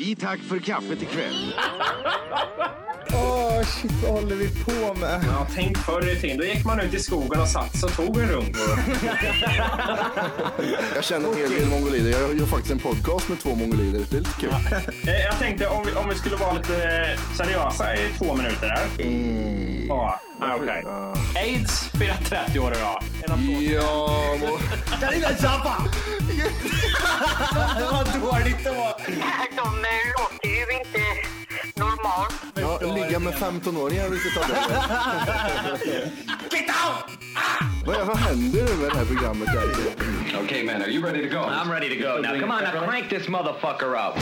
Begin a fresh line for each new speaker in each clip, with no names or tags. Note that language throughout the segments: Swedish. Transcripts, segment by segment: I tack för kaffet ikväll.
Ah,
Åh, shit, vad håller vi på med?
Ja, tänk förr i tiden. Då gick man ut i skogen och satt sig och tog en runk.
Jag känner en hel del mongolider. Jag gör faktiskt en podcast med två mongolider. Det är lite kul.
Eh, Jag tänkte om vi, om vi skulle vara lite eh, seriösa i två minuter där.
Mm.
Ja, ah, okej. Aids firar 30 år idag. En applåd.
Ja, må...
Vad dåligt det var.
De eh, låter ju inte normalt.
ja, ligga med 15-åringar, vilket av det är. Vad, är- vad händer nu med det här programmet? egentligen?
Okay, man, are you ready to go? I'm ready to go. Now, come on, now crank this motherfucker up.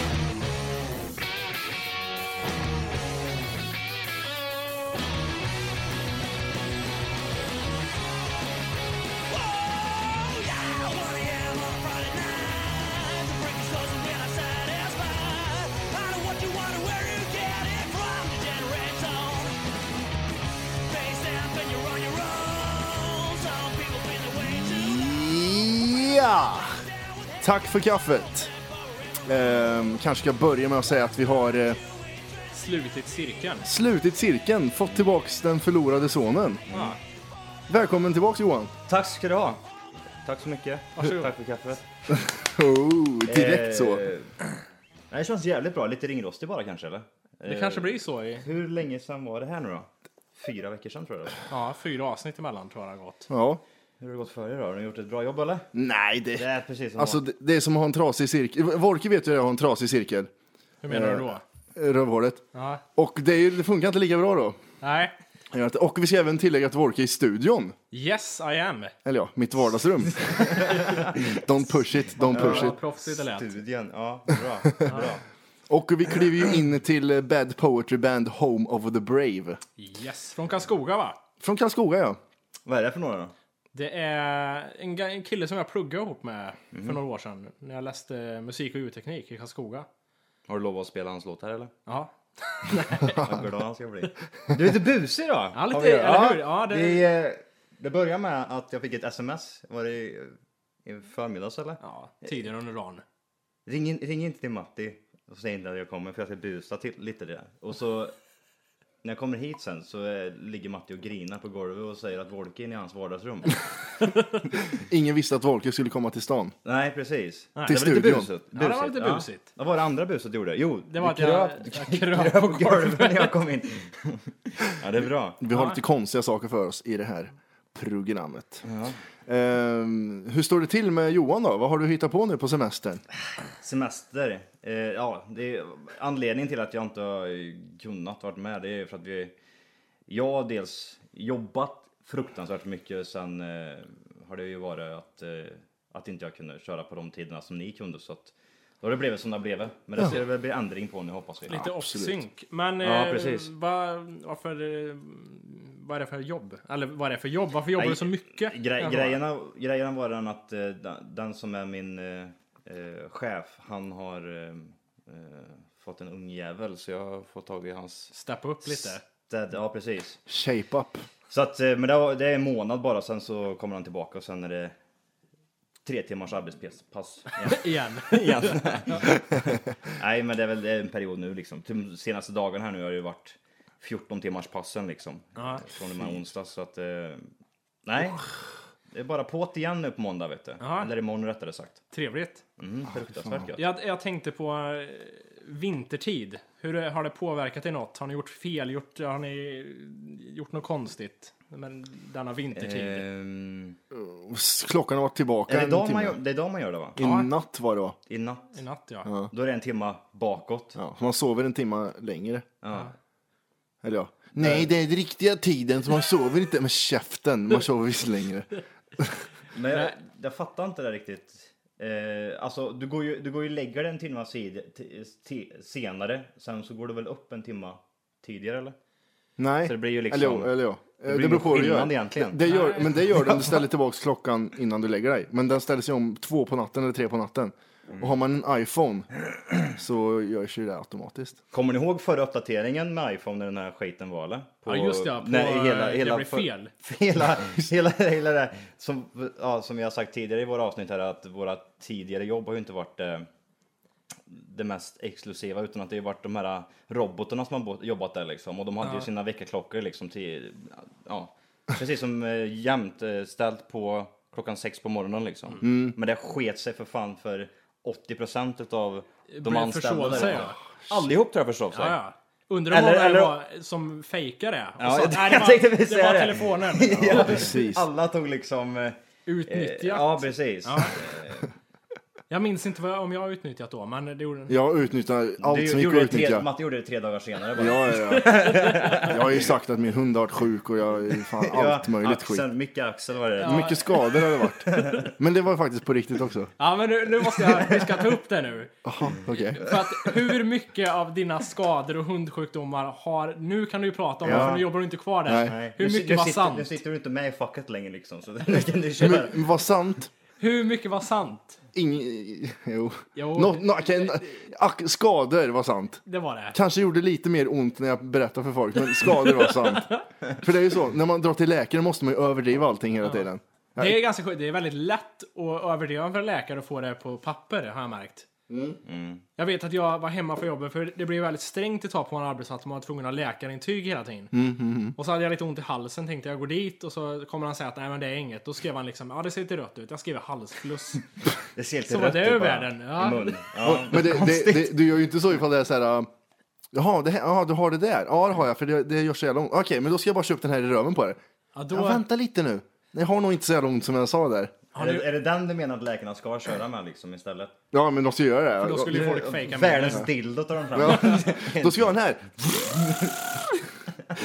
Ja! Tack för kaffet. Ehm, kanske ska börja med att säga att vi har eh,
Slutit cirkeln.
slutit cirkeln, fått tillbaks den förlorade sonen.
Ja.
Välkommen tillbaks Johan.
Tack ska du ha. Tack så mycket.
Varsågod.
Tack för kaffet.
Oh, direkt så.
Eh, Nej, det känns jävligt bra. Lite ringrostig bara kanske, eller? Eh,
Det kanske blir så i
Hur länge sedan var det här nu då? Fyra veckor sedan tror jag. det var.
ja, fyra avsnitt emellan tror jag det har gått.
Ja.
Hur har det gått för er då? Har ni gjort ett bra jobb eller?
Nej, det...
Det är precis som
Alltså
vanligt.
det, det är som att ha en trasig cirkel. Volke vet ju att jag har en trasig cirkel. eh,
Hur menar du då?
Rövhålet.
Ja.
Och det, är, ju- det funkar inte lika bra då.
Nej.
Jag vet inte. Och vi ska även tillägga att Volke är i studion.
Yes I am.
Eller ja, mitt vardagsrum. don't push it, don't push it.
Vad proffsigt det lät.
Studien, ja, bra. bra.
Och vi kliver ju in till eh, Bad Poetry Band Home of the Brave.
Yes. Från Karlskoga va?
Från Karlskoga ja.
Vad är det för några då?
Det är en, ga- en kille som jag pluggade ihop med
Mhm.
för några år sedan. När jag läste musik och ljudteknik i Karlskoga.
Har du lovat att spela hans låtar eller?
Ja.
Vad glad han ska bli. Du är lite busig då.
Ja, lite,
Har vi-
eller hur? Ja, det-
Vi, eh, det börjar med att jag fick ett sms. Var det i, i förmiddags eller?
ja. Tidigare under dagen.
Ring, in, ring inte till Matti och säg inte att jag kommer för jag ska busa till lite där. Och så när jag kommer hit sen så eh, ligger Matti och grinar på golvet och säger att Wolke är inne i hans vardagsrum.
Ingen visste att Volke skulle komma till stan.
Nej precis.
Till
det var lite
studion.
busigt.
Ja, det var lite busigt.
Vad var det andra buset du gjorde? Jo,
Det var
du
att jag-
kröp-
jag kröp på
på golvet när jag kom in. ja det är bra.
Vi har lite konstiga saker för oss i det här programmet. Ehm, hur står det till med Johan då? Vad har du hittat på nu på semestern?
Semester. Eh, ja, det är, anledningen till att jag inte har kunnat varit med det är för att vi... Jag har dels jobbat fruktansvärt mycket sen eh, har det ju varit att, eh, att inte jag kunde köra på de tiderna som ni kunde så att då har det blivit som det blev. Men det ska det väl bli ändring på nu hoppas vi.
Lite
Ja.
off-sync. Men
Ja,
eh,
precis.
vad, varför, eh, vad är det för jobb? Eller vad är det för jobb? Varför jobbar
Nej,
du så mycket?
Gre-
Jag
grejerna, grejerna var den att eh, den- den som är min eh, eh, chef han har eh, eh, fått en ung jävel så jag har fått tag i hans
Steppa upp lite.
städ. Ja precis.
Shape up.
Så att, eh, men det, har- det är en månad bara, sen så kommer han tillbaka och sen är det tre timmars arbetspass. igen.
Igen.
Nej, men det är väl det är en period nu liksom. De senaste dagarna här nu har det ju varit 14 timmars passen liksom.
Ja.
Från och med onsdag så att, eh, nej. Det är bara på't igen nu på måndag vet du.
Ja. Ah,
Eller imorgon rättare sagt.
Trevligt.
Mm, fruktansvärt gött.
Jag, jag tänkte på eh, vintertid. Hur det- har det påverkat er något? Har ni gjort fel? Gjort, har ni gjort något konstigt? Men denna vintertid.
Ehm,
Klockan har varit tillbaka
är det,
en
idag
timme.
man gör, det är idag man gör det va?
I natt var det va?
I natt.
I natt ja. ja.
Då är det en timma bakåt.
Ja, så man sover en timme längre.
Ja.
Eller ja. Nej, det är den riktiga tiden, så man sover inte med käften. Man sover visst längre.
Men jag, jag fattar inte det riktigt. Eh, alltså, du går ju, du går ju lägga dig en timme sid, t, t, senare, sen så går du väl upp en timme tidigare eller?
Nej.
Så det blir ju liksom-
Eller, ja, eller ja. Det,
blir
det beror på hur du
skillnad
gör.
egentligen.
Det gör men det gör det om du ställer tillbaka klockan innan du lägger dig. Men den ställer sig om två på natten eller tre på natten.
Mm.
Och har man en iPhone så görs ju det automatiskt.
Kommer ni ihåg förra uppdateringen med iPhone när den här skiten var eller? På-
just det, ja, på,
nej,
eh, det blir
för-
fel.
Hela, hela, hela det här, som, ja, som jag har sagt tidigare i våra avsnitt här att våra tidigare jobb har ju inte varit eh, det mest exklusiva utan att det har varit de här eh, robotarna som har bo- jobbat där liksom. Och de hade ju sina väckarklockor liksom till, ja, precis som eh, jämt eh, ställt på klockan sex på morgonen liksom.
Mm.
Men det sket sig för fan för 80% av de
Blir
anställda
förståelse,
där. Allihop tror jag förstått sig.
Ja, ja. Undrar om
Eller-
någon där
eller-
var som fejkar det. Och
Ja,
sa,
jag-
"Nej,
jag
det var,
tänkte precis
det. var
säga det."
telefonen.
Ja,
precis.
Alla tog liksom... eh,
Utnyttjat.
Eh, ja, precis.
Ja. Jag minns inte vad, om jag har utnyttjat då, men det gjorde
Jag utnyttjar allt
Du
som gick att
gjorde det tre,
utnyttja.
Matte gjorde det tre dagar senare bara.
Ja, ja, ja. Jag har ju sagt att min hund har varit sjuk och jag fan allt möjligt skit.
axel, Mycket axel var det.
Mycket skador har det varit. Men det var faktiskt på riktigt också.
Ja, men nu, nu måste jag, vi ska ta upp det nu.
Jaha, okej.
För att hur mycket av dina skador och hundsjukdomar har, nu kan du ju prata om det
Ja.
för nu jobbar du inte kvar där.
Nej.
Nej,
Hur
nu, si-
mycket
nu
var
sitter,
sant?
Nu sitter du inte med i facket längre liksom. Så nu kan du köra.
Men vad sant?
Hur mycket var sant?
Ing... Jo.
Jo.
Nå- nå- okej, ak- skador var sant.
Det var det.
Kanske gjorde lite mer ont när jag berättade för folk, men skador var sant. För det är ju så, när man drar till läkaren måste man ju överdriva allting hela tiden.
Det är ganska skönt. Det är väldigt lätt att överdriva för en läkare och få det på papper, har jag märkt.
Mm.
Mm.
Jag vet att jag var hemma från jobbet, för det blev väldigt strängt ett tag på en arbetsplats. Man var tvungen att ha läkarintyg hela tiden.
Mm,
Och så hade jag lite ont i halsen, tänkte jag går dit och så kommer han säga att nej men det är inget. Då skrev han liksom, ja det ser lite rött ut. Jag skriver halsfluss.
Det ser lite
Så var
rött
det
ut
ur
bara
världen, ja.
I mun. Ja.
Men det, det, det, du gör ju inte så ifall det är så här... äh, Jaha, det här, jaha, du har det där? Ja, det har jag, för det, det gör så jävla ont. Okej, men då ska jag bara köpa den här i röven på dig.
Ja,
Ja,
då,
vänta lite nu. Jag har nog inte så jävla ont som jag sa där.
Är, det, är det den du menar att läkarna ska köra med liksom istället?
Ja, men de ska göra det.
då skulle ju folk fejka mig.
Världens dildo tar de fram.
Då ska jag ha den här.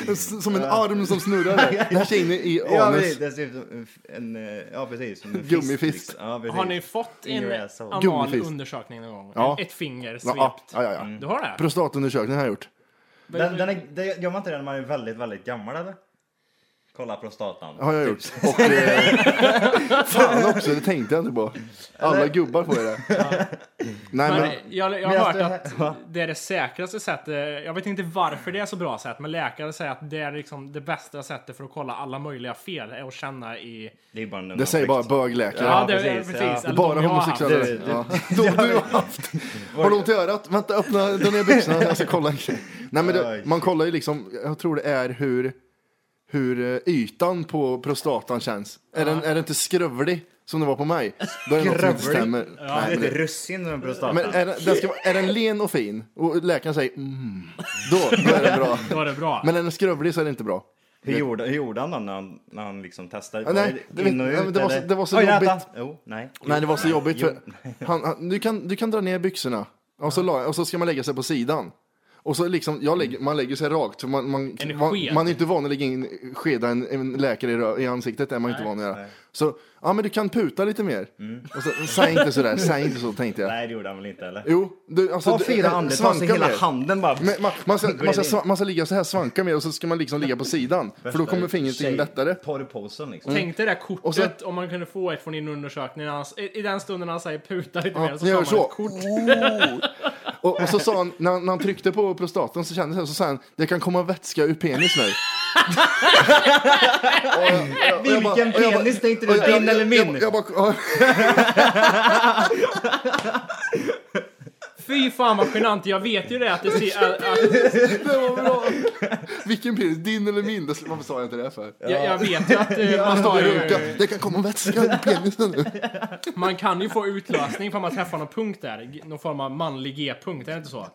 S- Som en arm som snurrar. där. Den här ska in i
Ja,
anus.
precis. det ser ut som en, eh, ja, precis. Som en fisk,
Gummifisk.
liksom. Ja, precis.
Har ni fått
In your
en
asshole.
anal
Gummifist.
undersökning någon gång?
Ja.
Ett finger svept?
Ja, ja, ja. ja.
Du har det?
Prostatundersökning har jag gjort.
den, den är, det, gör man inte det när man är väldigt, väldigt gammal eller? Kolla prostatan.
Har jag gjort. Och, eh, fan också, det tänkte jag inte på. Alla gubbar får ju det. Nej, men,
Men jag, jag
men
har hört
alltså,
att
va?
det är det säkraste sättet. Jag vet inte varför det är så bra sätt, men läkare säger att det är liksom det bästa sättet för att kolla alla möjliga fel är att känna i...
Det är bara en
det säger bara
underväxt.
bögläkare.
Ja, det,
precis,
precis.
ja.
eller
Bara
de jag har haft.
homosexuella.
Du- du-
ja. De du har haft. Har du ont i örat? Vänta, öppna, dra ner byxorna. Jag ska kolla. en grej. Nej, men det, man kollar ju liksom, jag tror det är hur, hur eh, ytan på prostatan känns. Är, den, är den inte skrövlig som det var på mig? Då är det något som inte
Skrövlig?
stämmer.
Det
Nej,
är
men
ett
det,
russin med en prostata.
men eh, är, den, den ska, vara- är den len och fin och läkaren säger mm, då, då är den bra.
Då är det bra.
Men är den skrövlig så är det inte bra.
Hur gjorde, hur gjorde han då när han, när han liksom testade?
Ja, nej, det vet-
in och
nej,
ut?
men det var så-
eller?
det var så
Oj, vänta.
jobbigt.
Jo, nej.
Nej, det var så jobbigt. För han, han, du, kan, du kan dra ner byxorna och så, la, och så ska man lägga sig på sidan. Och så liksom, jag lägger, man lägger sig rakt. För man, man,
En
man,
sked.
man är inte van att lägga in skeda en, en läkare i, rö- i ansiktet. Det är man inte van att göra. Så, ja men du kan puta lite mer. Och så, säg inte sådär, säg inte så tänkte jag.
Nej, det gjorde han väl inte eller?
Jo, du, alltså,
Ta
du-
fyra
eh,
andetag så
svanka
hela
mer.
handen bara...
Men man, man, ska,
Går
man, ska,
in.
sva- man ska ligga så här, svanka mer och så ska man liksom ligga på sidan. för då kommer fingret in lättare. Mm.
Porrposen liksom.
Tänk dig det där kortet
Och så-
om man kunde få ett från din undersökning. när han- I i den stunden han säger puta lite mer
Ja,
så
jag gör
tar man
så.
ett kort.
Och, och så sa han, när, han- när han tryckte på prostatan så kändes det, så sa han, det kan komma vätska ur penis nu. Och jag- och jag- och jag bara-
Vilken
och jag bara-
penis tänkte
och
du?
jag- jag-
Din eller
jag-
min?
Jag bara, ja,
Fy fan vad genant. Jag vet ju det att det ser... Att, att,
det var bra. Vilken penis? Din eller min? Det- Varför sa jag inte det för?
jag, jag vet ju att eh, man har
Runka,
ju...
det kan komma vätska ur penisen nu.
Man kan ju få utlösning för man träffar någon punkt där. G- Någon form av manlig G-punkt, är det inte så?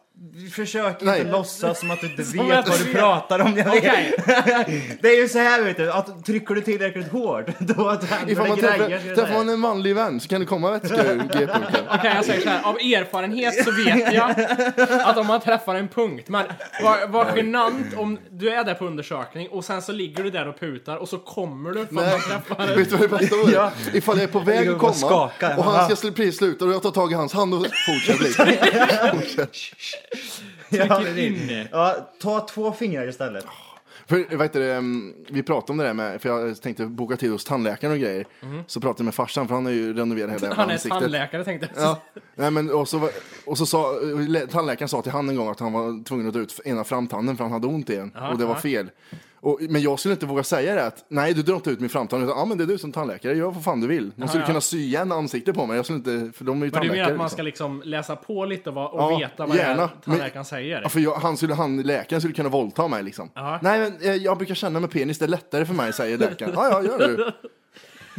Försök
Nej.
inte låtsas som att du inte
Som
vet
att
vad
du
du
vet.
pratar om. Jag vet.
Okej.
Det är ju så här vet du, att trycker du tillräckligt hårt då händer
Ifall
det
man
grejer.
träffar,
ska jag
träffar
säga.
man en manlig vän så kan det komma vätska ur g-punkten.
Okej, jag säger så här. Av erfarenhet så vet jag att om man träffar en punkt, man, vad var genant om du är där på undersökning och sen så ligger du där och putar och så kommer du för att man
Nej.
träffar en...
Vet du vad det bästa var?
Ja.
Ifall jag är på väg att
bara
komma
skaka.
och
Aha.
han ska sl- precis sluta och jag tar tag i hans hand och fortsätter lite.
Ja,
trycker
det är-
in.
Ja, ta två fingrar istället.
För, vet du, ehm, vi pratade om det där med, för jag tänkte boka tid hos tandläkaren och grejer.
Mhm.
Så pratade jag med farsan för han har ju renoverat hela jävla
Han är
ansiktet.
tandläkare tänkte jag.
Ja. Nej, men, och så, var- och så sa, lä- tandläkaren sa till han en gång att han var tvungen att ta ut ena framtanden för han hade ont i den. och det var
aha.
fel. Och, men jag skulle inte våga säga det att nej, du drar inte ut min framtand. Utan, ja, men det är du som tandläkare, gör vad fan du vill. De skulle
ja.
kunna sy igen ansiktet på mig. Jag skulle inte, för de är ju
Men du
tandläkare.
menar att man
liksom.
ska liksom läsa på lite och, vad- och
Ja,
veta vad det
gärna.
är tandläkaren
Men-
säger?
Ja, för jag, han, skulle, han, läkaren skulle kunna våldta mig liksom.
Ja.
Nej, men eh, jag brukar känna med penis, det är lättare för mig, säger läkaren. ja, ja, gör du.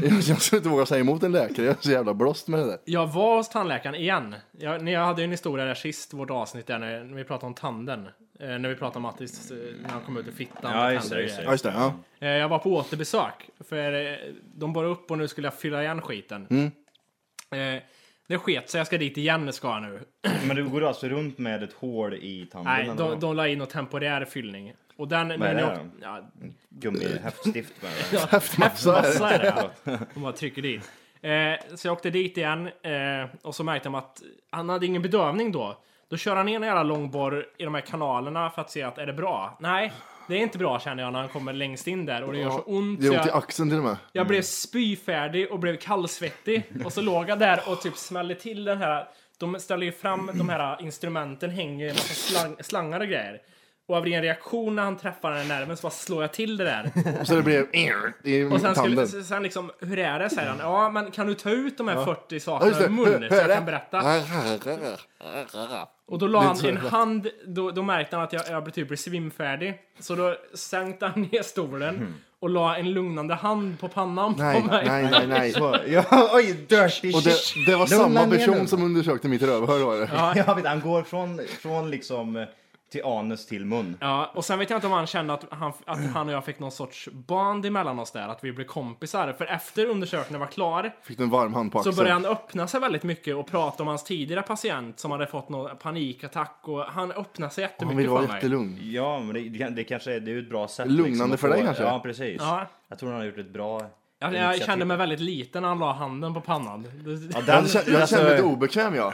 Jag, jag skulle inte våga säga emot en läkare, jag är så jävla blåst med det där.
Jag var hos tandläkaren igen. Jag, när jag hade ju en historia där sist, vårt avsnitt där, när, när vi pratade om tanden. Eh, när vi pratade om Mattis, eh, när han kom ut i fittan.
Ja,
och
just det,
tänder och
just det.
Ja, just det. Ja.
Eh, Jag var på återbesök. För eh, de bar upp och nu skulle jag fylla igen skiten.
Mm.
Eh, Det sket sig, jag ska dit igen ska jag nu.
Men du går alltså runt med ett hål i tanden?
Nej,
eller
de,
vad?
de la in någon temporär fyllning. Och den... Vad
Mm. är det då?
ja,
Gummihäftstift med det.
ja,
Häftmassa är
Häftmassa är det. ja. De bara trycker dit. Eh, så jag åkte dit igen eh, och så märkte de att han hade ingen bedövning då. Då kör han in en jävla långborr i de här kanalerna för att se att är det bra? Nej, det är inte bra känner jag när han kommer längst in där och det gör så ont.
Det
så
gör ont i
jag-
axeln till och med.
Jag blev spyfärdig och blev kallsvettig. Och så låg jag där och typ smällde till den här. De ställer ju fram de här instrumenten, hänger i en massa slang, slangar och grejer. Och av ren reaktion när han träffar den här nerven så bara slår jag till det där.
Så det blev "Err" i
Och sen, skulle,
tanden.
sen liksom, hur är det? säger han. Ja, men kan du ta ut de här 40
Ja,
sakerna
just
ur
det.
munnen
Hör-
så jag
hör
kan
det?
berätta?
Arr, arr, arr, arr, arr.
Och då la han
så
en
rätt.
hand, då, då märkte han att jag, jag blev typ svimfärdig. Så då sänkte han ner stolen och la en lugnande hand på pannan
Mm. Nej,
på mig.
nej, nej, nej.
Så, ja, oj, dirty
Och det, det var samma
Lugna ner
person
den.
som undersökte mitt rövhål var det.
Jag vet, han går från, från liksom eh, till anus till mun.
Ja, och sen vet jag inte om han kände att han, att han och jag fick någon sorts band emellan oss där, att vi blev kompisar. För efter undersökningen var klar
Fick du en varm hand på
så
axeln.
började han öppna sig väldigt mycket och prata om hans tidigare patient som hade fått någon panikattack och han öppnade sig
Han
jättemycket
ville
för
vara
mig.
jättelugn.
Ja, men det, det, kan- det kanske är, det är ju ett bra sätt. liksom,
Lugnande
att
för dig kanske?
Ja, precis.
Ja.
Jag tror han har gjort ett bra
Jag, jag
initiativ.
kände mig väldigt liten när han la handen på pannan.
Ja, den,
Jag kände, jag
alltså,
kände lite obekväm jag.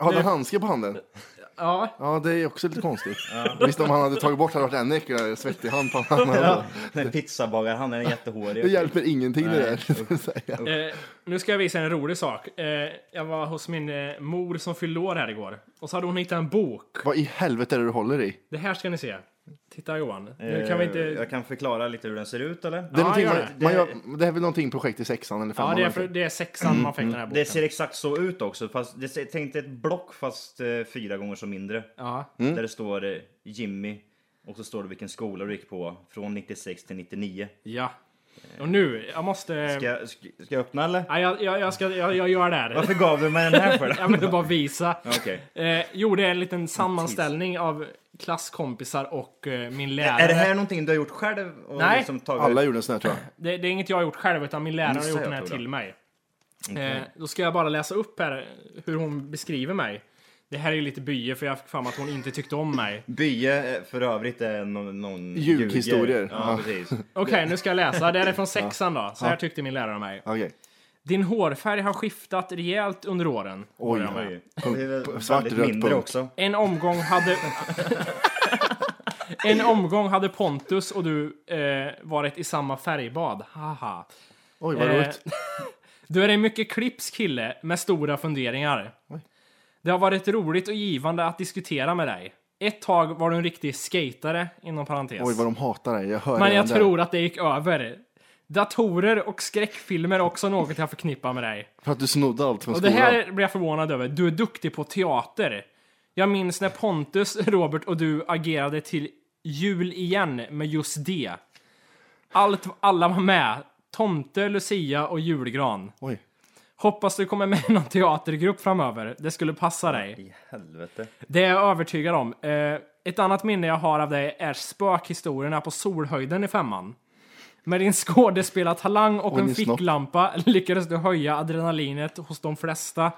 Har du handske på handen?
Ja,
Ja, det är också lite konstigt. Visst om han hade tagit bort hade det varit ännu äckligare. Svettig hand på handen.
ja, den pizzabagaren, han är jättehårig.
Det hjälper ingenting det där.
Eh, nu ska jag visa en rolig sak. Eh, jag var hos min eh, mor som fyllde år här igår. Och så hade hon hittat en bok.
Vad i helvete är det du håller i?
Det här ska ni se. Titta Johan. Nu kan vi inte...
Eh, Jag kan förklara lite hur den ser ut eller?
Det, är någonting
gör
man,
det.
Man gör, det här är väl någonting projekt i sexan eller femman?
Ja, det är,
eller
för,
någonting.
det är sexan man fick den här boken.
Mm, Det ser exakt så ut också, fast det ser, tänk dig ett block fast eh, fyra gånger så mindre.
Ja.
Mm.
Där det står eh, Jimmy och så står det vilken skola du gick på från 96 till 99.
Ehm.
ja. Eh, Och nu, jag måste...
Ska, jag- ska, ska jag öppna eller?
Ja, jag, jag, jag, ska, jag, jag gör det här.
Varför gav du mig den här för? då?
Jag ville bara visa.
Okej.
Eh, gjorde en liten sammanställning av klasskompisar och eh, min lärare.
Är det här någonting du har gjort själv? Och
Nej.
liksom tagit-
Alla gjorde en sån här tror jag.
Det, det är inget jag har gjort själv, utan min lärare har
Missar
gjort
jag,
den här
tror jag.
till mig. Eh, då ska jag bara läsa upp här hur hon beskriver mig. Det här är ju lite bye, för jag fick fram att hon inte tyckte om mig.
Bye eh, för övrigt är någon... någon
Ljughistorier.
ljuger. Ja,
Ja.
precis.
Okej, nu ska jag läsa. Det här är från sexan då. Så här tyckte min lärare om mig.
Okej.
Din hårfärg har skiftat rejält under åren.
Oj.
Oj. Det är väl
Svart,
väldigt
rött,
mindre
punkt.
också.
En omgång hade... en omgång hade Pontus och du eh, varit i samma färgbad. Haha.
Oj, vad
Eh,
roligt.
Du är en mycket klipsk kille med stora funderingar. Det har varit roligt och givande att diskutera med dig. Ett tag var du en riktig skatare, inom parentes.
Oj, vad de hatar dig. Jag hör
Men
redan
jag
där.
tror att det gick över. Datorer och skräckfilmer är också något jag förknippar med dig.
För att du snodde allt från
Och det
skolan.
här blir jag förvånad över. Du är duktig på teater. Jag minns när Pontus, Robert och du agerade till jul igen med just det. Allt, alla var med. Tomte, Lucia och julgran.
Oj.
Hoppas du kommer med i någon teatergrupp framöver. Det skulle passa dig.
I helvete.
Det är jag övertygad om. Eh, ett annat minne jag har av dig är spökhistorierna på Solhöjden i femman. Med din skådespelartalang och
Oj,
en
min snopp.
ficklampa lyckades du höja adrenalinet hos de flesta.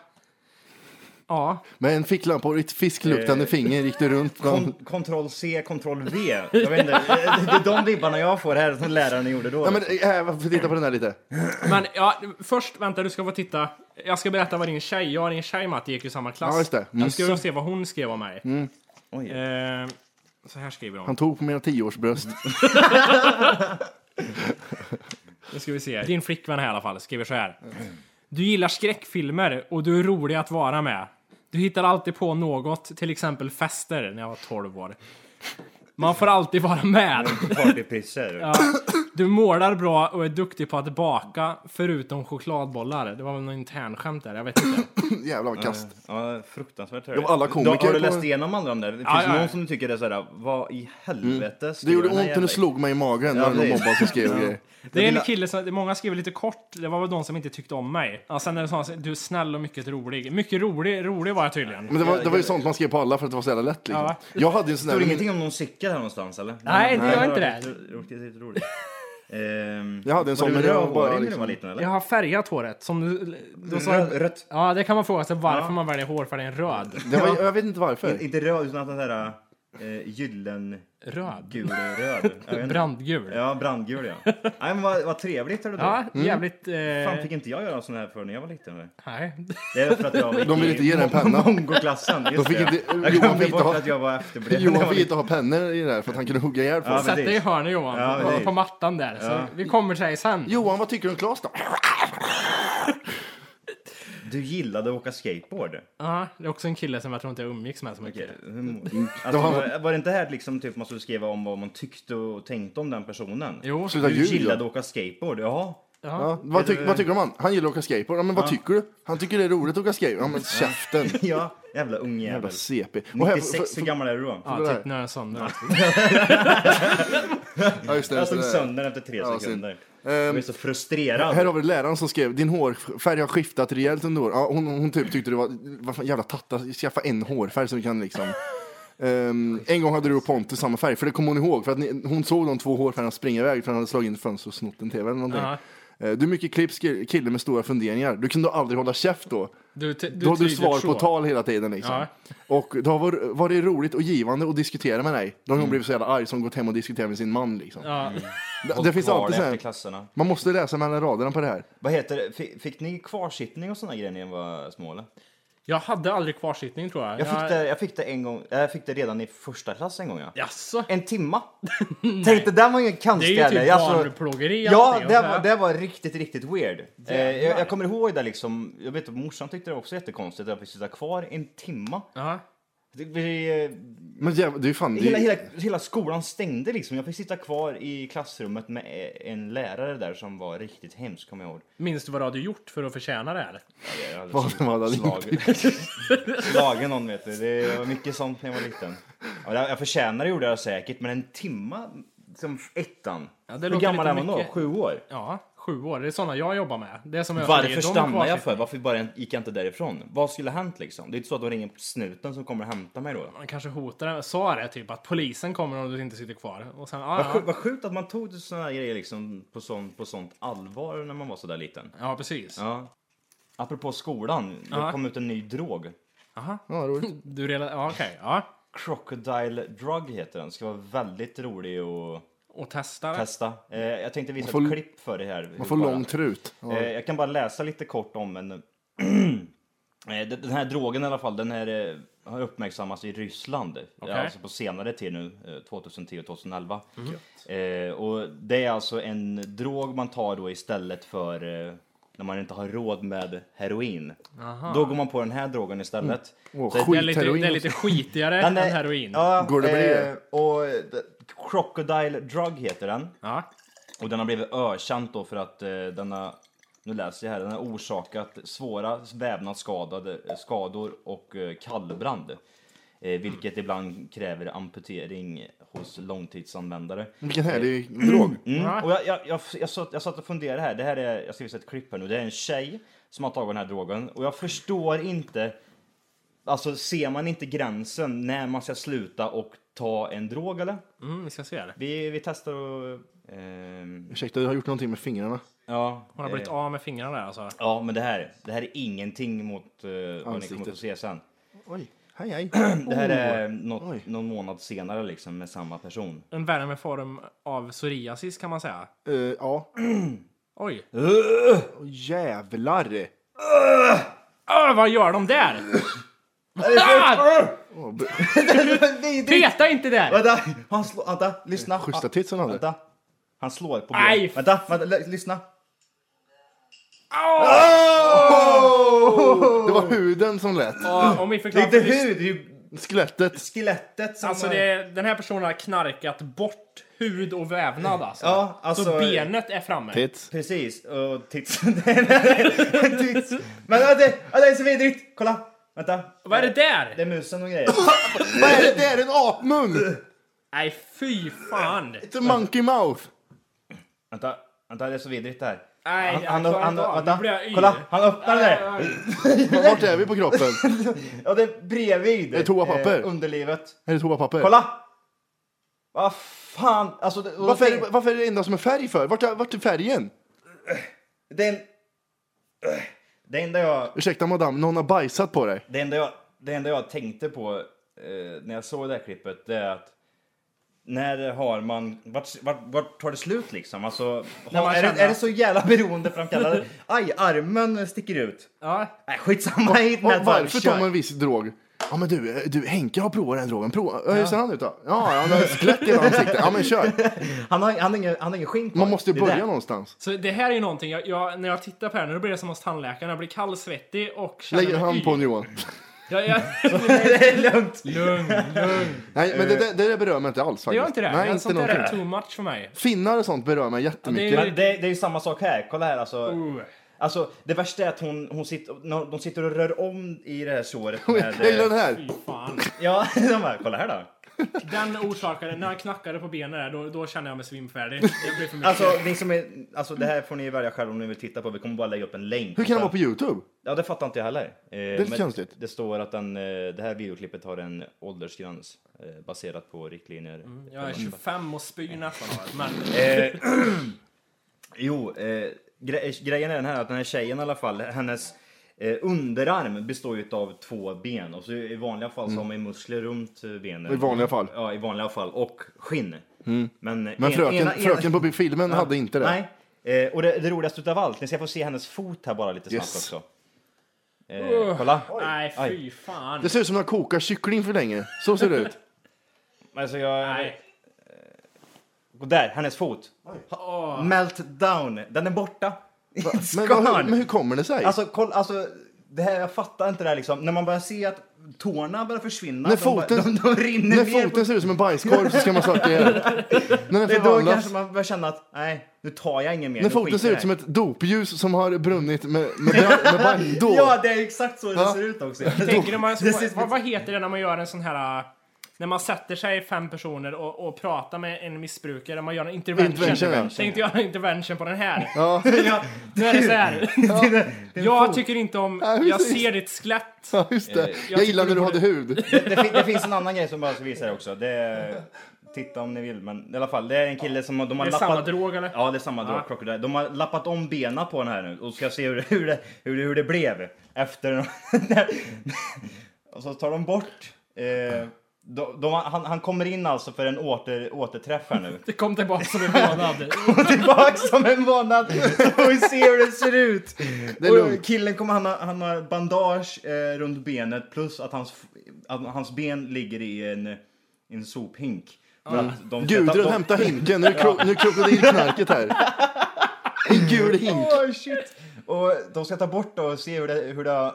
Ja,
Med en ficklampa och ditt
Eh.
fiskluktande finger gick du runt bland...
Kon- Kontroll C, kontroll V. Jag vet inte, det är de vibbarna jag får här som läraren gjorde då.
Ja, men äh, varför titta på den här lite?
men ja, först vänta, du ska få titta. Jag ska berätta vad din tjej, jag och din tjej Matti gick i samma klass.
Ja, just det. Mm.
Jag ska se vad hon skrev om mig.
Oj.
Eh, så här skriver hon.
Han tog på mina tioårsbröst.
Nu ska vi se. Din flickvän här i alla fall skriver så här. Du gillar skräckfilmer och du är rolig att vara med. Du hittar alltid på något, till exempel fester, när jag var 12 år. Man får alltid vara med.
Partypisser.
Ja. Du målar bra och är duktig på att baka, förutom chokladbollar. Det var väl någon intern skämt där, jag vet inte.
Jävlar vad kast.
Ja, fruktansvärt hör
Ja,
jag.
alla komiker
Har du
på-
läst igenom alla de där? Det finns
ja, ja.
någon som du tycker är såhär, vad i helvete
Mm. Det gjorde ont
den här
när du
jävla-
slog mig i magen
Ja,
när de
det-
mobbade som skrev grejer.
Det är en kille som, det är många skrev lite kort, det var väl de som inte tyckte om mig. Ja, sen är det sådana som, du är snäll och mycket rolig. Mycket rolig, rolig var jag tydligen.
Men det var, det var ju sånt man skrev på alla för att det var så jävla lätt liksom.
Ja.
Jag hade ju en sån
Står
där...
det ingenting om någon cykel här någonstans eller?
Nej, det gör inte det.
Det är lite roligt. Ehm,
Jag hade en sån,
Var
men
du
jag
rödhårig
bara
när du
liksom-
var liten eller?
Jag har färgat håret. Som du, då sa,
Röd, rött.
ja, det kan man fråga sig varför man väljer hårfärgen röd.
Det var, jag vet inte varför.
Inte röd, utan den där eh, gyllen...
Röd?
Gul röd. Jag vet inte.
Brandgul. Ja,
Ja, brandgul ja. Nej men vad, vad trevligt hörde du.
jävligt... Eh,
Fan fick inte jag göra en sån här för när jag var liten? eller?
nej.
Det är för att jag gick
De vill
i
inte ge dig en penna.
Mongoklassen, just
De fick
det.
inte-
Jag
Johan
glömde
fick inte
bort
ha-
att jag var efterbliven.
Johan fick inte ha pennor i det här för att han kunde hugga ihjäl folk.
Ja,
Sätt dig i
precis.
hörnet Johan,
Ja,
på,
precis.
på mattan där.
Ja.
Så vi kommer till dig sen.
Johan, vad tycker du om Klas då?
Du gillade att åka skateboard.
Ja, det är också en kille som jag tror inte jag umgicks med så mycket.
Hur- Alltså, var, var det inte här liksom, typ, man skulle skriva om vad man tyckte och tänkte om den personen?
Jo,
Sluta
Du
ljug.
gillade
Johan.
att åka skateboard, jaha.
Ja, vad, tyck, vad tycker du om han? Han gillar att åka skateboard. Ja, men vad tycker du? Han tycker det är roligt att åka skateboard. Ja, men käften.
Ja, jävla ungjävel.
Jävla CP. Och här, för,
96, hur
för,
gammal är du då?
ja, typ när jag är sönder.
ja, just det,
Jag
just det,
slog
det. är-
sönder den efter tre
Ja,
sekunder.
Ehm,
Jag blev så frustrerad.
Här har vi läraren som skrev, din hårfärg har skiftat rejält under åren. Ja, hon, hon typ tyckte det var, vad fan, jävla tatta, skaffa en hårfärg som kan liksom. Ehm, en gång hade du och Pontus samma färg, för det kommer hon ihåg. För att ni, hon såg de två hårfärgerna springa iväg för han hade slagit in ett fönster och snott en tv eller någonting.
Ja.
Eh, Du är mycket klipsk kille med stora funderingar. Du kunde aldrig hålla käft då.
Du, ty- du
Då har du
tyder
svar
så.
på tal hela tiden. Liksom.
Ja.
Och det har varit- varit roligt och givande att diskutera med dig. Då har hon blivit så jävla arg som gått hem och diskuterat med sin man. Liksom.
Mm. Ja.
Det, det finns
Kvar
alltid så
efter
här,
klasserna.
man måste läsa mellan raderna på det här.
Vad heter det? Fick, fick ni kvarsittning och såna grejer när ni var små eller?
Jag hade aldrig kvarsittning tror jag.
Jag fick, det, jag fick det en gång, jag fick det redan i första klass en gång ja.
Jaså?
En timma. Tänkte, där var ju en
Det är ju
kantställe.
typ alltså.
Alltså,
barnplågeri.
Ja,
allting,
det
och så här.
var, det var riktigt, riktigt weird. Eh, jag, jag kommer ihåg det liksom, jag vet att morsan tyckte det var också jättekonstigt att jag fick sitta kvar en timma.
Ja.
Det, vi, eh,
Men jävla, det är ju fan... Det är,
hela, hela, hela skolan stängde liksom, jag fick sitta kvar i klassrummet med eh, en lärare där som var riktigt hemsk, kommer jag ihåg.
Minns du vad du hade gjort för att förtjäna det här?
Jag hade
Vad-
sl-
vad hade han
slag, slagen någon vet du, det var mycket sånt när jag var liten. Ja, jag, jag förtjänade gjorde jag säkert, men en timma som ettan.
det
Hur
låter
gammal
lite
är man då?
mycket.
Sju år?
Ja, sju år. Det är sådana jag jobbar med. Det är som jag säger,
Varför
de
stannade jag
kvarsittning-
för? Varför bara gick jag inte därifrån? Vad skulle ha hänt liksom? Det är inte så att de ringer snuten som kommer och hämtar mig då.
Man kanske hotade, sa det typ att polisen kommer om du inte sitter kvar. Och sen,
Vad
ah,
sjukt,
ja.
vad sjukt att man tog sådana här grejer liksom på, sån, på sånt allvar när man var sådär liten.
ja, precis.
Ja. Apropå skolan, det
Ja.
kom ut en ny drog.
ja, roligt.
Du redan, ja, okej. ja.
Crocodile drug heter den. Ska vara väldigt rolig att
Och testa.
testa. Eh, jag tänkte visa
får-
ett klipp för det här.
Man får
Bara.
lång trut. Ja.
Eh, jag kan bara läsa lite kort om en... Eh, d- den här drogen i alla fall, den här eh, har uppmärksammats i Ryssland.
Okej. Mm.
Alltså på senare tid nu, eh, 2010 och 2011.
Mm.
Eh, och det är alltså en drog man tar då istället för eh, när man inte har råd med heroin. Då går man på den här drogen istället.
Mm. Åh,
Så-
Det är lite,
Skitheroin
det är lite skitigare än
är-
heroin. Ja.
Ja,
Går det med det?
eh, och eh, Crocodile Drug heter den.
Ja.
Och den har blivit ökänt då för att eh, den har, nu läser jag här, den har orsakat svåra vävnadsskadade eh, skador och eh, kallbrand. Eh, vilket ibland kräver amputering hos långtidsanvändare. Mm.
Vilken
eh,
härlig drog.
Och jag, jag, jag, jag, satt, jag satt och funderade här, det här är, jag ska visa ett klipp här nu, det är en tjej som har tagit den här drogen och jag förstår inte, alltså ser man inte gränsen när man ska sluta och ta en drog eller?
Mm, vi ska se det.
Vi, vi testar och... ehm,
Ursäkta, du har gjort någonting med fingrarna.
ja,
Hon har blivit av med fingrarna där alltså.
Ja, men det här, det här är ingenting mot eh, vad ni kommer
Ansiktet.
få se sen.
Oj, hej hej.
Det här är
Oj.
något, någon månad senare liksom med samma person.
En värme med form av psoriasis kan man säga.
Eh, ja.
Oj.
Åh, jävlar.
Öh, vad gör de där? Ah! Peta inte där!
Vänta, han slår, vänta, lyssna.
Schyssta tits han hade.
Vänta. Han slår på
Aj!
benet. Vänta, vänta, l- lyssna.
Det var huden som lät.
Och, om vi
Det är
förklarar
inte
för, lys-
hud, det är ju
Skelettet.
Skelettet som...
Alltså
har-
det, den här personen har knarkat bort hud och vävnad alltså.
Ja, alltså-
Så benet är framme.
Tits.
Precis, och tits. tits. Men ja, det, ja, det är så vidrigt! Kolla! Vänta.
Vad är det där?
Det är musen och grejer.
Vad är det? Det är en apmun!
Nej fy fan.
It's a monkey mouth.
vänta, vänta, det är så vidrigt det här.
Nej, jag
Han, han,
klarar
han,
inte av. Nu blir jag
vänta,
yr.
kolla, han öppnar det där.
Vart är vi på kroppen?
Ja, det är bredvid.
är toapapper.
Eh, underlivet.
Är det toapapper?
Kolla! Vad fan! Alltså, det, och
Varför är, det,
det,
varför är det enda som är färg för? Vart är, vart är färgen?
det, är en, Äh, det enda jag...
Ursäkta madame, någon har bajsat på dig.
Det enda jag, det enda jag tänkte på eh, när jag såg det här klippet det är att när har man, vart, vart, vart tar det slut liksom? Alltså,
När
har,
man
är, det,
känner-
är det så jävla beroendeframkallande? Aj, armen sticker ut.
Ja.
Nej, skitsamma, hit
Och
med det,
varför
kör.
tar man en viss drog? Ja men du, eh, du Henke har provat den drogen. Prova. Ja. Hur ser han ut då? Ja, han har ett skelett i ansiktet. Ja men kör.
Han har, han har ingen, han har ingen skinn kvar.
Man måste ju
Det är
börja
där.
någonstans.
Så det här är ju någonting, jag, jag, när jag tittar på det här nu då blir det som hos tandläkaren. Jag blir kallsvettig och känner
Lägg
mig
hand
yr.
på honom, Johan.
Jag, jag,
det är lugnt.
lugn, lugn.
Nej men det, det, det där berör mig inte alls
Det
faktiskt.
gör inte det.
Nej,
jag,
inte
sånt där är
någonting.
too much för mig.
Finnar och sånt berör mig jättemycket.
Men det, det är ju samma sak här, kolla här alltså.
Mm.
Uh.
Alltså det värsta är att hon, hon sitter, när de sitter och rör om i det här såret med...
Jag gillar den
eh,
här.
Fan.
Ja, de bara, kolla här då.
Den orsakade, när han knackade på benen där, då, då kände jag mig svimfärdig. Det blev för mycket.
Alltså, ni som är, alltså det här får ni välja själva om ni vill titta på. Vi kommer bara lägga upp en länk.
Hur kan det vara på Youtube?
Ja, det fattar inte jag heller. Eh, det
lite konstigt.
Det står att den, eh, det här videoklippet har en åldersgräns eh, baserat på riktlinjer.
jag är 25 och spyr nästan av det, men
Eh, jo, eh, gre- grejen är den här att den här tjejen i alla fall, hennes eh, underarm består ju av två ben och så i vanliga fall så har man ju muskler runt eh, benen.
Mm. I vanliga fall. Mm.
Ja, i vanliga fall. Och skinn. Men,
Men
en-
fröken,
ena- ena-
fröken på filmen hade inte det.
Nej. Eh, och det, det roligaste utav allt, ni ska få se hennes fot här bara lite snabbt
Yes.
också. Eh, kolla.
nej
Aj.
fy fan.
Det ser ut som när jag kokar kyckling för länge. Så ser det ut.
Alltså jag...
Nej.
Och där, hennes fot. Melt down. Den är borta.
Men, vad, hur,
Skön.
men hur kommer det sig?
Alltså, koll, alltså, det här, jag fattar inte det här liksom. När man börjar se att tårna börjar försvinna.
När
att de bara-
foten-
de, de rinner
När
ner. på-
foten ser ut som en bajskorv så ska man söka hjälp. När den
det är då
förvandlas.
kanske man börjar känna att, nej, nu tar jag ingen mer.
När
nu
foten
skiter
ser
jag
ut som
i
ett dopljus som har brunnit med, med, brand, med bajs.
det
Då.
här." Ja, det är exakt så det
Ja.
ser ut också.
Tänker du man,
Det ser-
vad, vad heter det när man gör en sån här... äh, När man sätter sig fem personer och, och pratar med en missbrukare, man gör en intervention.
Intervention, ja.
Tänkte göra en intervention på den här.
Ja.
Ja,
Nu är det så här.
det-
Jag tycker inte om...
Ja,
Jag
precis.
ser ditt skelett.
Ja, just
Eh,
det. Jag,
tycker
gillar när
du
du
borde-
hade hud.
det, fin- det finns en annan grej som bara ska visa det också. Det är, titta om ni vill, men i alla fall. Det är en kille som har- de har
Det är
lappat...
samma drog, eller?
Ja, det är samma drog.
Ja.
Crocodile. De har lappat om benen på den här nu och ska se hur, hur, det, hur, det, hur det blev efter... och så tar de bort... Eh, de, de, han, han kommer in alltså för en åter, återträff här nu.
Det kom tillbaka som en månad.
Kom tillbaks om en månad och vi ser hur det ser ut.
Det är
och
lugnt.
killen kommer, han, har, han har bandage eh, runt benet plus att hans, f- att hans ben ligger i en, i en sophink. För att de ska ta-
Gudrun,
de-
hämta hinken. Nu är kro- nu är krokodilknarket här. En gul hink.
Åh, shit. Och de ska ta bort det och se hur det, hur det, har-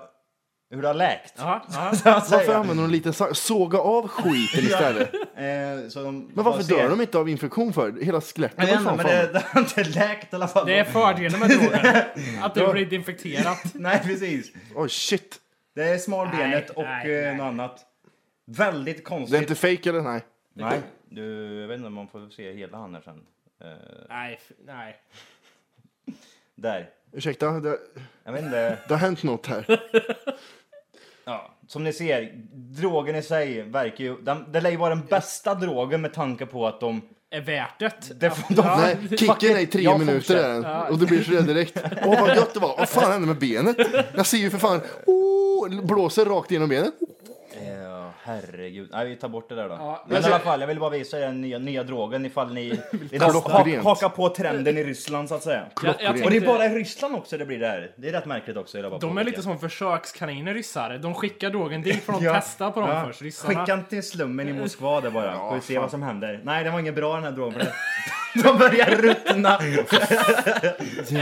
hur det har läkt.
Ja, ja.
Så att
Varför
säga.
använder de en liten sa- Såga av skiten istället.
Eh, så de
Men varför dör de inte av infektion för? Hela
Jag
skelettet
vet
var
inte,
fan
men
fan.
det, det har inte läkt i alla fall.
Det är fördelen med droger. Att det blir infekterat.
Nej, precis.
Oj, shit.
Det är smalbenet
Nej,
och
nej,
eh,
nej.
något annat. Väldigt konstigt.
Det är inte fake eller? Nej.
Nej, du, jag vet inte om man får se hela han här sen. Eh,
Nej, f- nej.
där.
Ursäkta, det,
Jag vet inte.
det har hänt något här.
Ja, som ni ser, drogen i sig verkar ju... Den, det lär ju vara den bästa drogen med tanke på att de...
Är värt det.
de, de
Nej, kicken är i tre
Jag
minuter
fortsätter.
är den. Och du blir så rädd direkt. Åh, vad gött det var. Vad fan hände med benet? Jag ser ju för fan. Oh, blåser rakt genom benet.
Eh, herregud. Nej, vi tar bort det där då.
Ja,
men
men-
i alla fall, jag ville bara visa er den nya, nya drogen ifall ni vill
Klockrent.
haka på trenden i Ryssland så att säga.
Jag, jag
Och det är bara
tänkte,
i Ryssland också det blir det här. Det är rätt märkligt också. jag bara
de är
påpekar.
lite som försökskaniner ryssar. De skickar drogen dit för de
Ja.
testar på dem
Ja.
först. Ryssarna.
Skicka inte till slummen i Moskva där bara. Får vi se
fan.
vad som händer. Nej, det var ingen bra den här drogen. för det- De börjar ruttna.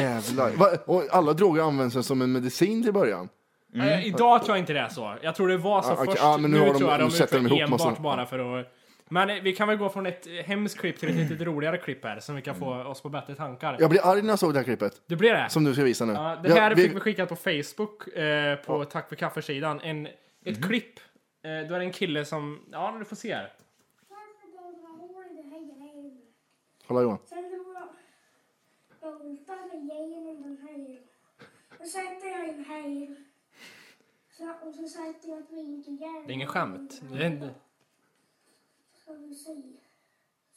Jävlar. Va? Och alla droger används som en medicin till början.
Eh, Idag tror jag inte det är så. Jag tror det var så
Mm. Ah, okej.
först.
Ah, men nu har de-
tror jag
nu sätter de
utför
ihop massa-
enbart bara för att... Men eh, vi kan väl gå från ett eh, hemskt klipp till ett lite roligare klipp här som vi kan få oss på bättre tankar.
Jag blir arg när jag såg det här klippet.
Det blir det?
Mm. Som du ska visa nu.
Ja, det här
Ja,
fick vi skickat på Facebook eh, på Tack för kaffesidan. En, ett
Mhm.
klipp. Eh, då är det en kille som... Ja, du får se här.
Varför de har hår i det här grejen?
Kolla Johan.
Sen drog jag boltar genom den här. Och sätter jag in här. Så, och så sätter jag ett vinkeljärn.
Det är ingen skämt. Det är en,
Ska vi se.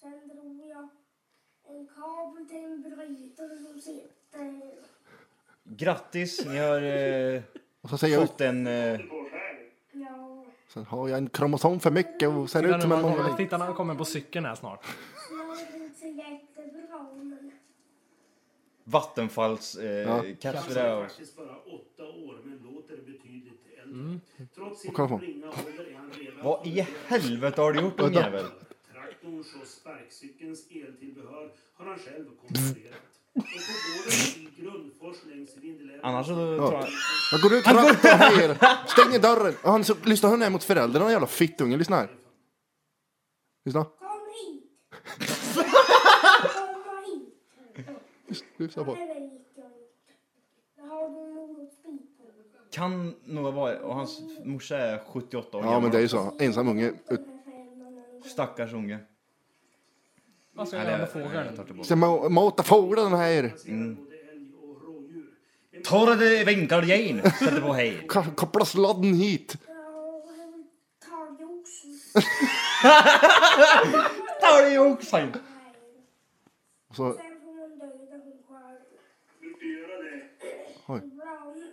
Sen drog jag en kabel till en brytare som sitter.
Grattis, ni har eh,
Och så säger jag ut.
fått en... Eh,
Ja.
Sen har jag en kromosom för mycket och ser ut
titta,
som
när
en
han kommer,
mongolid.
titta när han kommer på cykeln här snart.
Så jag är inte så jättebra men.
Vattenfalls eh,
Ja.
kanske det där.
faktiskt bara åtta år, men låter betydligt äldre. Trots sin
kolla på.
ringa ålder är han redan...
Vad i helvete har du gjort din
Vänta.
jävel?
Traktorns och sparkcykelns eltillbehör har han själv konstruerat. Och på gården i Grundfors längs Vindelälven...
Annars så tror jag...
Jag går ut från här. Stänger dörren. Och han så, lyssnar hon är mot föräldrarna den jävla fittungen. Lyssna här. Lyssna.
Kom hit! Kom hit!
Lyssna på.
Det vet jag inte. Jag har du något spik?
Kan nog vara... Och hans morsa är 78 år
Ja men det är ju så. Ensam unge. Ut-
Stackars unge.
Vad ska jag
Nej,
göra
det-
med fågeln?
jag tar tillbaka.
Ska ma- mata fåglarna här.
Både älg och rådjur.
Torr vinkelgin! Sätter på hej.
Ka- Koppla sladden hit.
Ja, jag vill ta det också.
Tar det ju också!
Och så,
Sen får man döda hon själv.
Du får göra det.
Brown.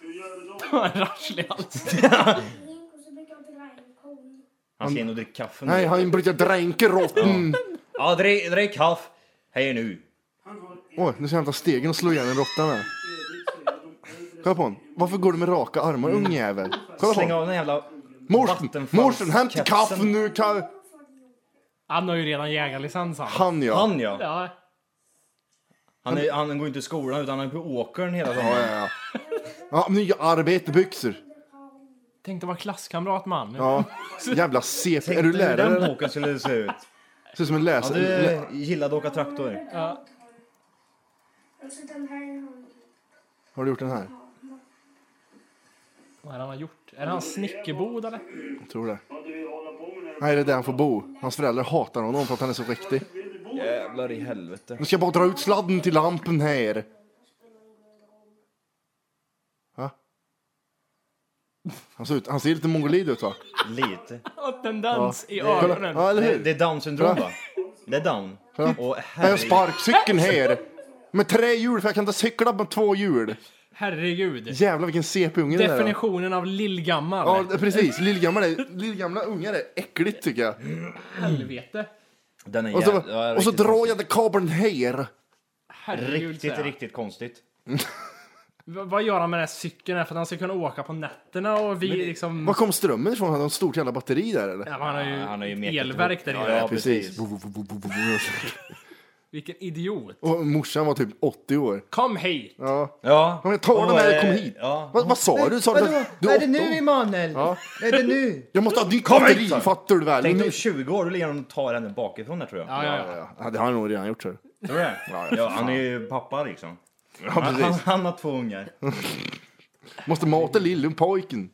Hur gör du då?
Rasslig alls.
Och så brukar jag dra en kon.
Han ska in och dricka kaffe
nej
nu.
han brukar dränka råttan.
Ja, drick, drick kaffe. Hej nu.
Han har ett
Oj nu ska jag hämta stegen och slå igen en råtta med.
övrigt så är de äldre
Kolla på honom. Varför går du med raka armar ungjävel? Kolla på
Släng
honom.
av den jävla...
Morsen, morsen hämta
Vattenfallskepsen.
kaffe nu. Ka-
Han har ju redan jägarlicens han.
han ja.
Han ja.
Ja.
Han, är, han går inte i skolan utan han är på åkern hela
Ja,
dagen.
ja, ja. ja nya arbetarbyxor.
Tänkte vara klasskamrat man. nu.
Ja. Jävla CP. Är du
Tänkte hur
lärare?
den
eller?
boken skulle se ut.
Ser ut som en
Ja,
läsare.
du gillade att åka traktor.
Ja.
Och så den här i handen.
Har du gjort den här?
Vad är det han har gjort? Är det han snickerbod eller?
Jag tror det.
Vad du vill hålla på med när
Nej, det är där han får bo. Hans föräldrar hatar honom för att han är så riktig.
Jävlar i helvete.
Nu ska jag bara dra ut sladden till lampen här. Va? Han ser, ut, han ser lite mongolid ut va?
Lite.
Och tendens i
Kolla.
öronen.
Ja, eller
Det,
hur?
det är down syndrom va? Det är down. Och
Jag har en
herregud.
sparkcykeln här. Med tre hjul för jag kan inte cykla med två hjul.
Herregud.
Jävlar vilken CP-unge det är. va?
Definitionen av lillgammal.
Ja det- precis, lillgamla, är- lillgamla ungar är äckligt tycker jag.
Helvete.
Den är
Och så,
jävla... ja,
och så
riktigt
drar
konstigt.
jag den kabeln här.
Herregud säger
Riktigt,
jag.
riktigt konstigt.
V- Vad gör han med den här cykeln? här? För att han ska kunna åka på nätterna och vi liksom...
Var kom strömmen ifrån? Hade de stort jävla batteri där eller?
Ja, men han har ju,
Ja, han har ju metat
elverk
upp.
där inne.
Ja, ja.
precis.
Vilken idiot.
Och morsan var typ 80 år.
Kom hit!
Ja.
Ja.
Ja, men ta
Och
den här
då är
och kom
det-
hit.
Ja.
Vad, vad sa du? Sa du
Vadå?
att du är 80 år?
Emanuel?
Ja.
Är det nu?
Jag måste ha ditt
Kom hit,
batteri,
sa du.
fattar du väl?
Tänk dig
Nu-
om 20 år, då ligger han och tar henne bakifrån där tror jag.
Ja, ja, ja.
Ja, ja, det har han nog redan gjort tror jag.
Tror du det? Ja, han är ju pappa liksom.
Ja,
Han, han,
precis.
han har två ungar.
Måste mata lillpojken.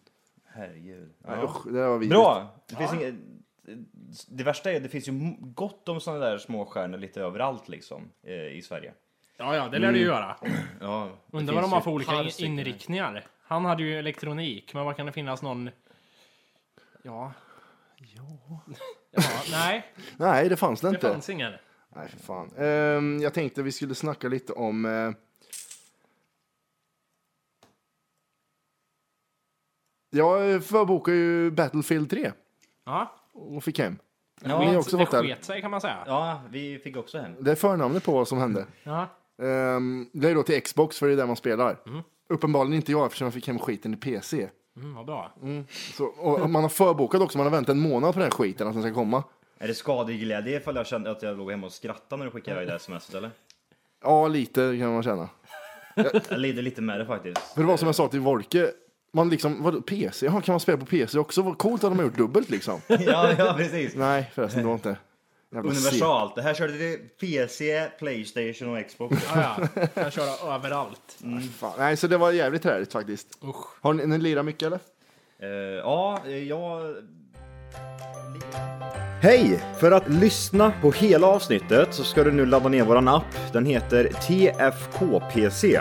Herregud.
Ja.
Ja.
Usch, det där var vidrigt.
Bra! Det, finns inget, det värsta är att det finns ju gott om sådana där små stjärnor lite överallt liksom eh, i Sverige.
Ja, ja, det lär du
Mm.
ju göra.
Ja, det
Undrar vad
finns
de har
ju
för olika
par
in-
stycken.
inriktningar. Han hade ju elektronik, men vad kan det finnas någon... Ja... Ja. nej.
Nej, det fanns det,
Det
inte.
fanns ingen.
Nej, för fan. Ehm, jag tänkte vi skulle snacka lite om... eh, Jag förbokade ju Battlefield 3
Ja.
och fick hem.
ja
ni har också
det
fått det.
sket sig kan man säga.
Ja, vi fick också hem.
Det är förnamnet på vad som hände.
Ja.
Ehm, det är då till Xbox, för det är där man spelar. Uppenbarligen inte jag, eftersom jag fick hem skiten i PC.
Mm, vad bra.
Så, och man har förbokat också, man har väntat en månad på den här skiten att den ska komma.
Är det skadeglädje ifall jag kände att jag låg hemma och skrattade när du skickade iväg det smset eller?
Ja, lite kan man känna.
Jag lider lite med det faktiskt.
För det var som jag sa till Volke, Man liksom, vadå PC? Jaha, kan man spela på PC också? Vad coolt att de har gjort dubbelt liksom.
Ja, ja precis.
Nej förresten, det var inte. Jävla segt.
Universalt. Det här körde vi PC, Playstation och Xbox.
Ja, ja. Jag kör överallt.
Mm.
Fan. Nej, så det var jävligt träligt faktiskt.
Usch.
Har ni, ni lirat mycket eller?
Eh, ja, eh, jag... Hej! För att lyssna på hela avsnittet så ska du nu ladda ner våran app. Den heter TFKPC.